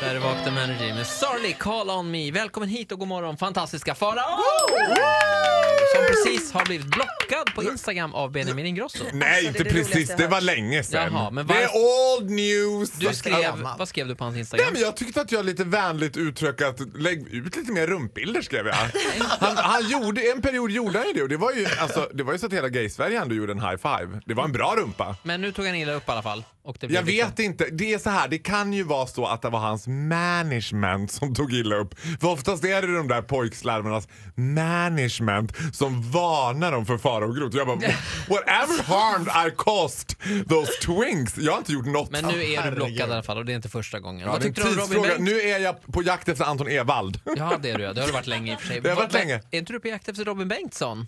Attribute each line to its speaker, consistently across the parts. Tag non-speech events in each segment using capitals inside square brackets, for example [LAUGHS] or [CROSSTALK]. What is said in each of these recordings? Speaker 1: Där är Vakna med Energy med Sarli, Call On Me. Välkommen hit och god morgon fantastiska Farao! Som precis har blivit blockad på Instagram av Benjamin
Speaker 2: [LAUGHS]
Speaker 1: Ingrosso.
Speaker 2: Nej,
Speaker 3: Alltså, det
Speaker 2: inte
Speaker 3: är det
Speaker 2: precis.
Speaker 3: roligaste
Speaker 2: Det
Speaker 3: jag
Speaker 2: var
Speaker 3: hört.
Speaker 2: länge sedan.
Speaker 1: Jaha, men
Speaker 2: det är old news!
Speaker 1: Du skrev,
Speaker 4: man.
Speaker 1: vad skrev du på hans
Speaker 2: Nej,
Speaker 1: Instagram?
Speaker 2: men jag tyckte att jag lite vänligt uttryckt lägg ut lite mer rumpbilder
Speaker 1: [LAUGHS]
Speaker 2: skrev jag. Han, han gjorde, en period gjorde han ju det och det var ju, alltså, det var ju så att hela gay-Sverige ändå gjorde en high five. Det var en bra rumpa.
Speaker 1: Men nu tog han illa upp i alla fall. Och det blev
Speaker 2: Jag
Speaker 1: liksom-
Speaker 2: vet inte. Det är så här, det kan ju vara så att det var hans management som tog illa upp. För oftast är det de där pojkslarvarnas management som varnar dem för fara och grot. Jag bara, whatever harm I cost those twinks. Jag har inte gjort något.
Speaker 1: Men nu är du
Speaker 4: herregud.
Speaker 1: blockad i alla fall och det är inte första gången.
Speaker 2: Ja,
Speaker 1: vad
Speaker 2: det är en
Speaker 1: tyckte du om Robin
Speaker 2: tidsfråga.
Speaker 1: Bengt?
Speaker 2: Nu är jag på jakt efter Anton Ewald.
Speaker 1: Ja, det är du ja. Det har du varit länge i och för sig.
Speaker 2: [LAUGHS] Det har varit
Speaker 1: Men-
Speaker 2: länge.
Speaker 1: Är inte du på jakt efter Robin Bengtsson?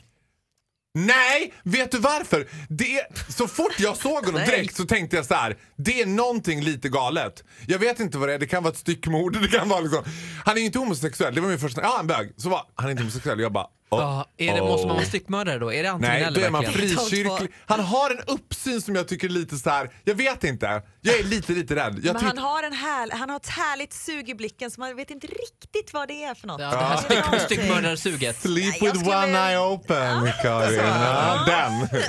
Speaker 2: Nej, vet du varför? Det, så fort jag såg honom
Speaker 1: Nej.
Speaker 2: direkt så tänkte jag så här. det är någonting lite galet. Jag vet inte vad det är, det kan vara ett styckmord, [LAUGHS] det kan vara liksom... Han är ju inte homosexuell, det var min första... Ja, han bög. Så var han är inte homosexuell, jag bara... Oh,
Speaker 1: Ja, är det,
Speaker 2: oh.
Speaker 1: Måste man vara styckmördare då? Är det antingen
Speaker 2: Nej,
Speaker 1: eller
Speaker 2: då är man
Speaker 1: verkligen?
Speaker 4: två.
Speaker 2: frikyrklig. Han har en uppsyn som jag tycker är lite så här. jag vet inte. Jag är lite, lite rädd. Jag
Speaker 3: Men
Speaker 2: tyck-
Speaker 3: han har, en här, han har ett härligt sug i blicken så man vet inte riktigt vad det är för något.
Speaker 1: Ja, det här styck,
Speaker 2: [LAUGHS]
Speaker 1: styckmördarsuget.
Speaker 2: Sleep
Speaker 3: Nej, jag
Speaker 2: with
Speaker 3: skulle-
Speaker 2: one eye open, Karin. Ja, den.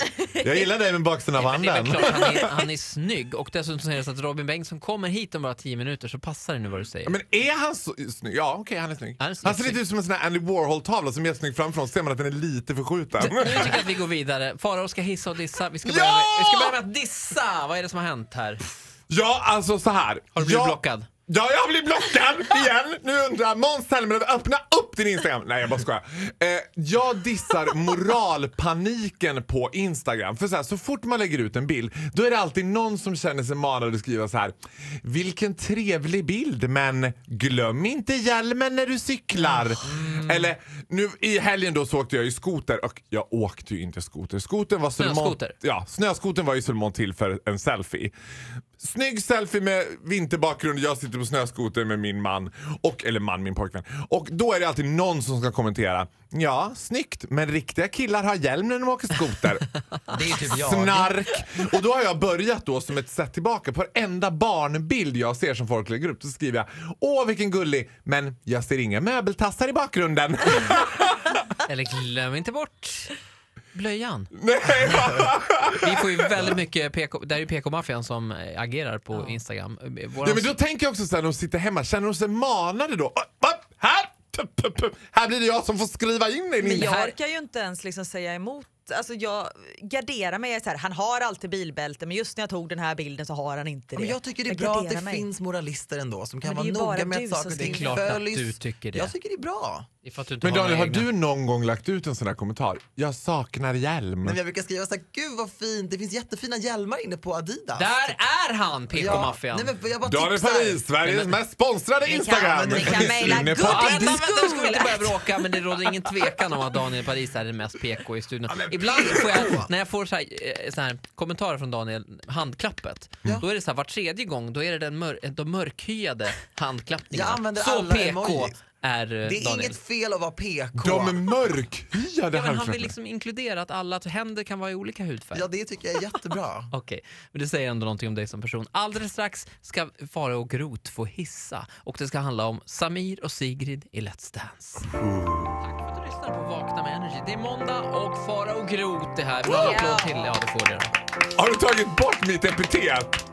Speaker 2: Jag gillar dig med baksidan av
Speaker 1: Men det är väl
Speaker 2: handen.
Speaker 1: klart, han
Speaker 2: [LAUGHS]
Speaker 1: är, han är snygg. Och dessutom så är det så att Robin Bengtsson kommer hit om bara 10 minuter så passar det nu vad du säger.
Speaker 2: Ja, Men är han så snygg? Ja, okej, han är snygg.
Speaker 1: Han
Speaker 2: Han,
Speaker 1: är snygg,
Speaker 2: ser
Speaker 1: snygg.
Speaker 2: lite ut som en sån här Andy Warhol-tavla som är snygg framifrån. Ser man att den är lite förskjuten.
Speaker 1: Nu tycker jag att vi går vidare. Farao ska hissa och dissa. Vi ska,
Speaker 2: Ja!
Speaker 1: börja med, vi ska börja med att dissa! Vad är det som har hänt här?
Speaker 2: ja, alltså så här.
Speaker 1: Har du blivit
Speaker 2: jag,
Speaker 1: blockad?
Speaker 2: Ja, jag blir blockad [LAUGHS] igen! Nu undrar Måns Zelmerlöw, öppna upp din Instagram! Nej, jag bara skojar. Eh, jag dissar moralpaniken på Instagram. För så, här, så fort man lägger ut en bild, då är det alltid någon som känner sig manad att skriva så här. Vilken trevlig bild, men glöm inte hjälmen när du cyklar.
Speaker 1: Mm.
Speaker 2: Eller, nu i helgen då så åkte jag ju skoter och jag åkte ju inte skoter. Skotern var Sölmon-
Speaker 1: Snöskoter.
Speaker 2: Ja, snöskoten var ju Sölmon till för en selfie. Snygg selfie med vinterbakgrund. Jag sitter på snöskoter med min man. Och, eller man, min pojkvän. Och då är det alltid någon som ska kommentera. Ja, snyggt. Men riktiga killar har hjälm när de åker
Speaker 3: [LAUGHS]
Speaker 2: skoter.
Speaker 1: Det är ju typ jag.
Speaker 2: Snark! Och då har jag börjat då som ett sätt tillbaka. På varenda barnbild jag ser som folk lägger upp så skriver jag Åh vilken gullig, men jag ser inga möbeltassar i bakgrunden. [LAUGHS]
Speaker 1: Eller glöm inte bort blöjan.
Speaker 2: Nej,
Speaker 1: Vi får ju väldigt mycket PK, det är ju PK-maffian som eh, agerar på Instagram. Eh, Våran,
Speaker 2: Ja, men då tänker jag också så här, de sitter hemma, känner de sig manade då? Upp, upp, här! Tup, tup, tup. Här blir det jag som får skriva in det. i
Speaker 3: Men
Speaker 2: min-
Speaker 3: jag
Speaker 1: här-
Speaker 3: orkar ju inte ens liksom säga emot. Alltså jag garderar mig. Jag är så här, han har alltid bilbälte men just när jag tog den här bilden så har han inte det.
Speaker 4: Men jag tycker det är
Speaker 3: Jag
Speaker 4: bra att
Speaker 3: garderar
Speaker 4: det
Speaker 3: mig.
Speaker 4: finns moralister ändå som kan
Speaker 3: Men det
Speaker 4: vara
Speaker 3: är ju bara
Speaker 4: noga med
Speaker 3: du
Speaker 4: att
Speaker 3: som
Speaker 4: saker och ting
Speaker 3: skriver.
Speaker 1: Det är klart att
Speaker 4: följs.
Speaker 1: du tycker det.
Speaker 4: Jag tycker det är bra.
Speaker 1: ifall du inte
Speaker 2: Men
Speaker 1: har
Speaker 2: Daniel,
Speaker 1: några
Speaker 2: har
Speaker 1: egna.
Speaker 2: du någon gång lagt ut en sån här kommentar? Jag saknar hjälm.
Speaker 4: Men jag brukar skriva såhär, gud vad fint, det finns jättefina hjälmar inne på Adidas.
Speaker 1: Där är han,
Speaker 4: Nej,
Speaker 1: PK-maffian!
Speaker 4: men jag bara
Speaker 2: Daniel
Speaker 4: tipsar.
Speaker 2: Paris, Sveriges mest sponsrade Instagram!
Speaker 3: ni kan mejla
Speaker 2: Inne på
Speaker 3: gubben.
Speaker 2: Adidas.
Speaker 1: Vänta, vänta, nu ska vi inte börja bråka, men det råder ingen tvekan om att Daniel Paris är den mest PK i studion. Ibland får jag, när jag får så här, eh, så här, kommentarer från Daniel, handklappet, då är det så här, var tredje gång, då är det den mör, de mörkhyade handklappningarna.
Speaker 4: Jag använder
Speaker 1: så
Speaker 4: alla
Speaker 1: PK
Speaker 4: emojis.
Speaker 1: är eh,
Speaker 4: Det är
Speaker 1: Daniel.
Speaker 4: inget fel att vara PK.
Speaker 2: De är mörkhyade
Speaker 1: ja, men han
Speaker 2: handklappar.
Speaker 1: vill liksom inkludera att alla att händer kan vara i olika hudfärg.
Speaker 4: Ja, det tycker jag är
Speaker 1: [LAUGHS]
Speaker 4: jättebra.
Speaker 1: Okej, men det säger ändå någonting om dig som person. Alldeles strax ska Farao och Groth få hissa och det ska handla om Samir och Sigrid i Let's Dance. Tack för att du lyssnar på Vakna med Energy. Det är måndag och Farao och Groth är här. Vill du ha en applåd till? Ja, det får du. göra.
Speaker 2: Har du tagit bort mitt epitet?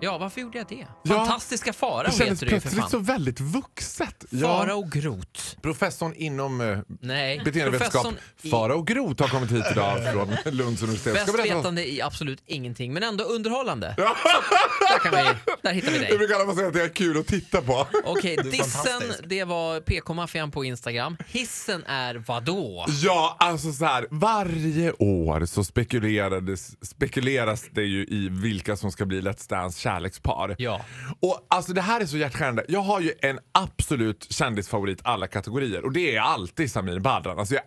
Speaker 1: Ja, varför gjorde jag det?
Speaker 2: Ja.
Speaker 1: Fantastiska Farao
Speaker 2: Det kändes
Speaker 1: heter du ju för
Speaker 2: plötsligt så
Speaker 1: fan.
Speaker 2: väldigt vuxet.
Speaker 1: Farao och Groth.
Speaker 2: Professorn inom eh,
Speaker 1: Nej,
Speaker 2: beteendevetenskap,
Speaker 1: Mm. professorn i-
Speaker 2: Farao Groth, har kommit hit idag från Lunds universitet. Ska
Speaker 1: Bäst
Speaker 2: berätta vad-
Speaker 1: vetande i absolut ingenting, men ändå underhållande. Så, där, kan vi, där hittar vi dig.
Speaker 2: Jag brukar alla säga att det är kul att titta på.
Speaker 1: Okej,
Speaker 4: är
Speaker 1: dissen
Speaker 4: fantastisk.
Speaker 1: det var PK-maffian på Instagram. Hissen är vadå?
Speaker 2: Ja, alltså så här. Varje år så spekulerades, spekuleras det ju i vilka som ska bli Let's Dance kärlekspar.
Speaker 1: Ja.
Speaker 2: Och alltså det här är så hjärtskärande. Jag har ju en absolut kändisfavorit alla kategorier och det är alltid Samir Badran. Alltså jag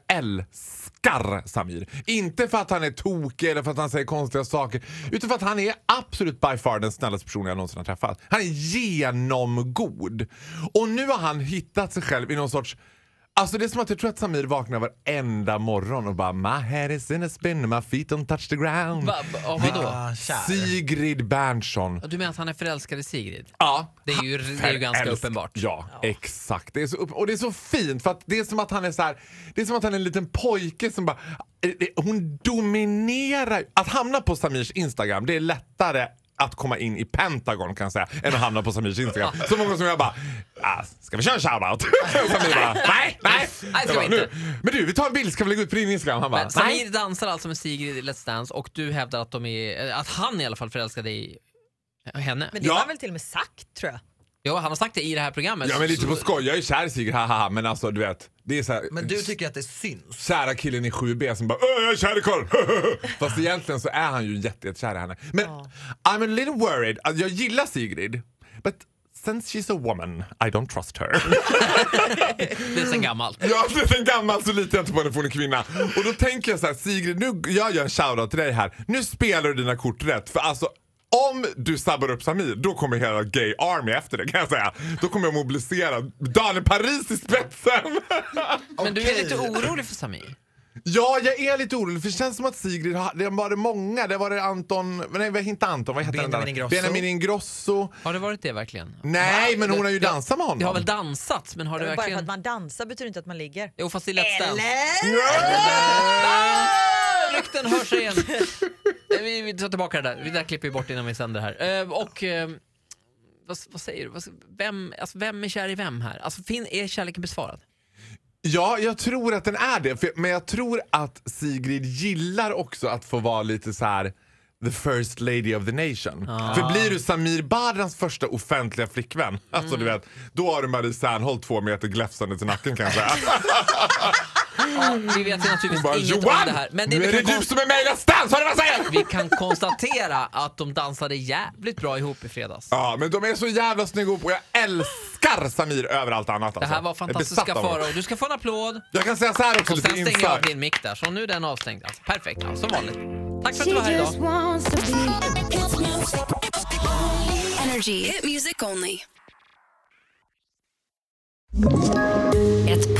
Speaker 2: älskar Samir. Inte för att han är tokig eller för att han säger konstiga saker utan för att han är absolut by far den snällaste personen jag någonsin har träffat. Han är genomgod. Och nu har han hittat sig själv i någon sorts Alltså det är som att jag tror att Samir vaknar varenda morgon och bara My head is in a spin, my feet don't touch the ground.
Speaker 1: Va, va, ja, vadå?
Speaker 4: Ah, kär.
Speaker 2: Sigrid Bernson.
Speaker 1: Ja, Du menar att han är förälskad i Sigrid?
Speaker 2: Ja.
Speaker 1: Det är ju, det är ju ganska
Speaker 2: Älsk-
Speaker 1: uppenbart.
Speaker 2: Ja, exakt. Det är så upp- och det är så fint för att det är som att han är så här, det är som att han är en liten pojke som bara eh, eh, hon dominerar. Att hamna på Samirs Instagram, det är lättare att komma in i Pentagon kan jag säga, än att hamna på Samirs Instagram. Så många som jag bara, ah, ska vi köra en shoutout?
Speaker 1: [LAUGHS]
Speaker 2: Och Samir bara, nej, nej.
Speaker 1: Nej, ska
Speaker 2: Jag bara,
Speaker 1: vi inte.
Speaker 2: "Nu. Men du, vi tar en bild, ska vi lägga ut på din Instagram? Han bara,
Speaker 1: Men
Speaker 2: nej.
Speaker 1: Samir dansar alltså med Sigrid i Let's Dance och du hävdar att, de är, eh, att han är i alla fall förälskad i eh, henne.
Speaker 3: Men det
Speaker 2: Ja.
Speaker 3: har han väl till och med sagt tror jag.
Speaker 1: Jo, han har sagt det i det här programmet.
Speaker 2: Ja men lite
Speaker 1: Så-
Speaker 2: på skoj, jag är kär i Sigrid, haha, men alltså du vet, det är så här,
Speaker 4: Men du tycker att det syns?
Speaker 2: kära killen i 7B som bara "Åh, jag är kär i Karl. [LAUGHS] Fast egentligen så är han ju jätte, jättekär i henne. Men I'm a little worried. Alltså, jag gillar Sigrid. But since she's a woman, I don't trust her. [LAUGHS]
Speaker 1: Det är sen gammalt.
Speaker 2: Ja, det är en gammal så litar jag inte på henne för hon är kvinna. Och då tänker jag så här, Sigrid, nu, jag gör en shoutout till dig här. Nu spelar du dina kort rätt. För alltså, om du sabbar upp Samir, då kommer hela Gay Army efter det kan jag säga. Då kommer jag mobilisera Daniel Paris i spetsen. [LAUGHS]
Speaker 1: Men du är
Speaker 4: Okej.
Speaker 1: lite orolig för Samir?
Speaker 2: Ja, jag är lite orolig för det känns som att Sigrid, har- det var det många, det var det Anton, nej inte Anton, vad heter den
Speaker 4: Benjamin
Speaker 2: där?
Speaker 4: Ingrosso.
Speaker 2: Benjamin Ingrosso.
Speaker 1: Har det varit det verkligen?
Speaker 2: Nej, men hon har ju
Speaker 1: Ja,
Speaker 2: dansat med honom.
Speaker 1: Det har väl dansats, men har det
Speaker 3: Bara för att
Speaker 1: verkligen...
Speaker 3: man dansar betyder inte att man ligger.
Speaker 1: Jo, fast i Let's Dance.
Speaker 3: Eller?
Speaker 1: Rykten hör sig igen. Eh, Vi, vi tar tillbaka det där. Det där klipper vi bort innan vi sänder här. Eh, Och... eh, Vad, vad säger du? Vad- Vem, alltså vem är kär i vem här? Alltså, fin, är kärleken besvarad?
Speaker 2: Ja, jag tror att den är det. För, men jag tror att Sigrid gillar också att få vara lite så här the first lady of the nation. För blir du Samir Badrans första offentliga flickvän, [LAUGHS] alltså
Speaker 1: Mm.
Speaker 2: du vet, då har du Marie Serneholt två meter gläfsande till nacken kan
Speaker 1: [LAUGHS]
Speaker 2: jag säga.
Speaker 1: Vi vet ju
Speaker 2: Hon
Speaker 1: naturligtvis
Speaker 2: bara
Speaker 1: inget om
Speaker 2: Johan!
Speaker 1: det här. Men det
Speaker 2: nu
Speaker 1: vi,
Speaker 2: är det
Speaker 1: kan
Speaker 2: du
Speaker 1: konst-
Speaker 2: som är med i Let's Dance, hör du vad jag säger?
Speaker 1: vi kan konstatera att de dansade jävligt bra ihop i fredags.
Speaker 2: Ja, men de är så jävla snygga ihop och jag älskar Samir över allt annat.
Speaker 1: Det
Speaker 2: Alltså.
Speaker 1: här var
Speaker 2: Jag är besatt
Speaker 1: fantastiska
Speaker 2: av honom.
Speaker 1: faror. Du ska få en applåd.
Speaker 2: Jag kan säga så här också
Speaker 1: Och
Speaker 2: lite
Speaker 1: sen stänger jag av
Speaker 2: inför.
Speaker 1: din mick där, så nu är den avstängd. Alltså, perfekt, ja, som vanligt. Tack för att
Speaker 5: She
Speaker 1: du var här idag.
Speaker 5: just wants to be.
Speaker 6: Energy. Hit music only.
Speaker 7: Ett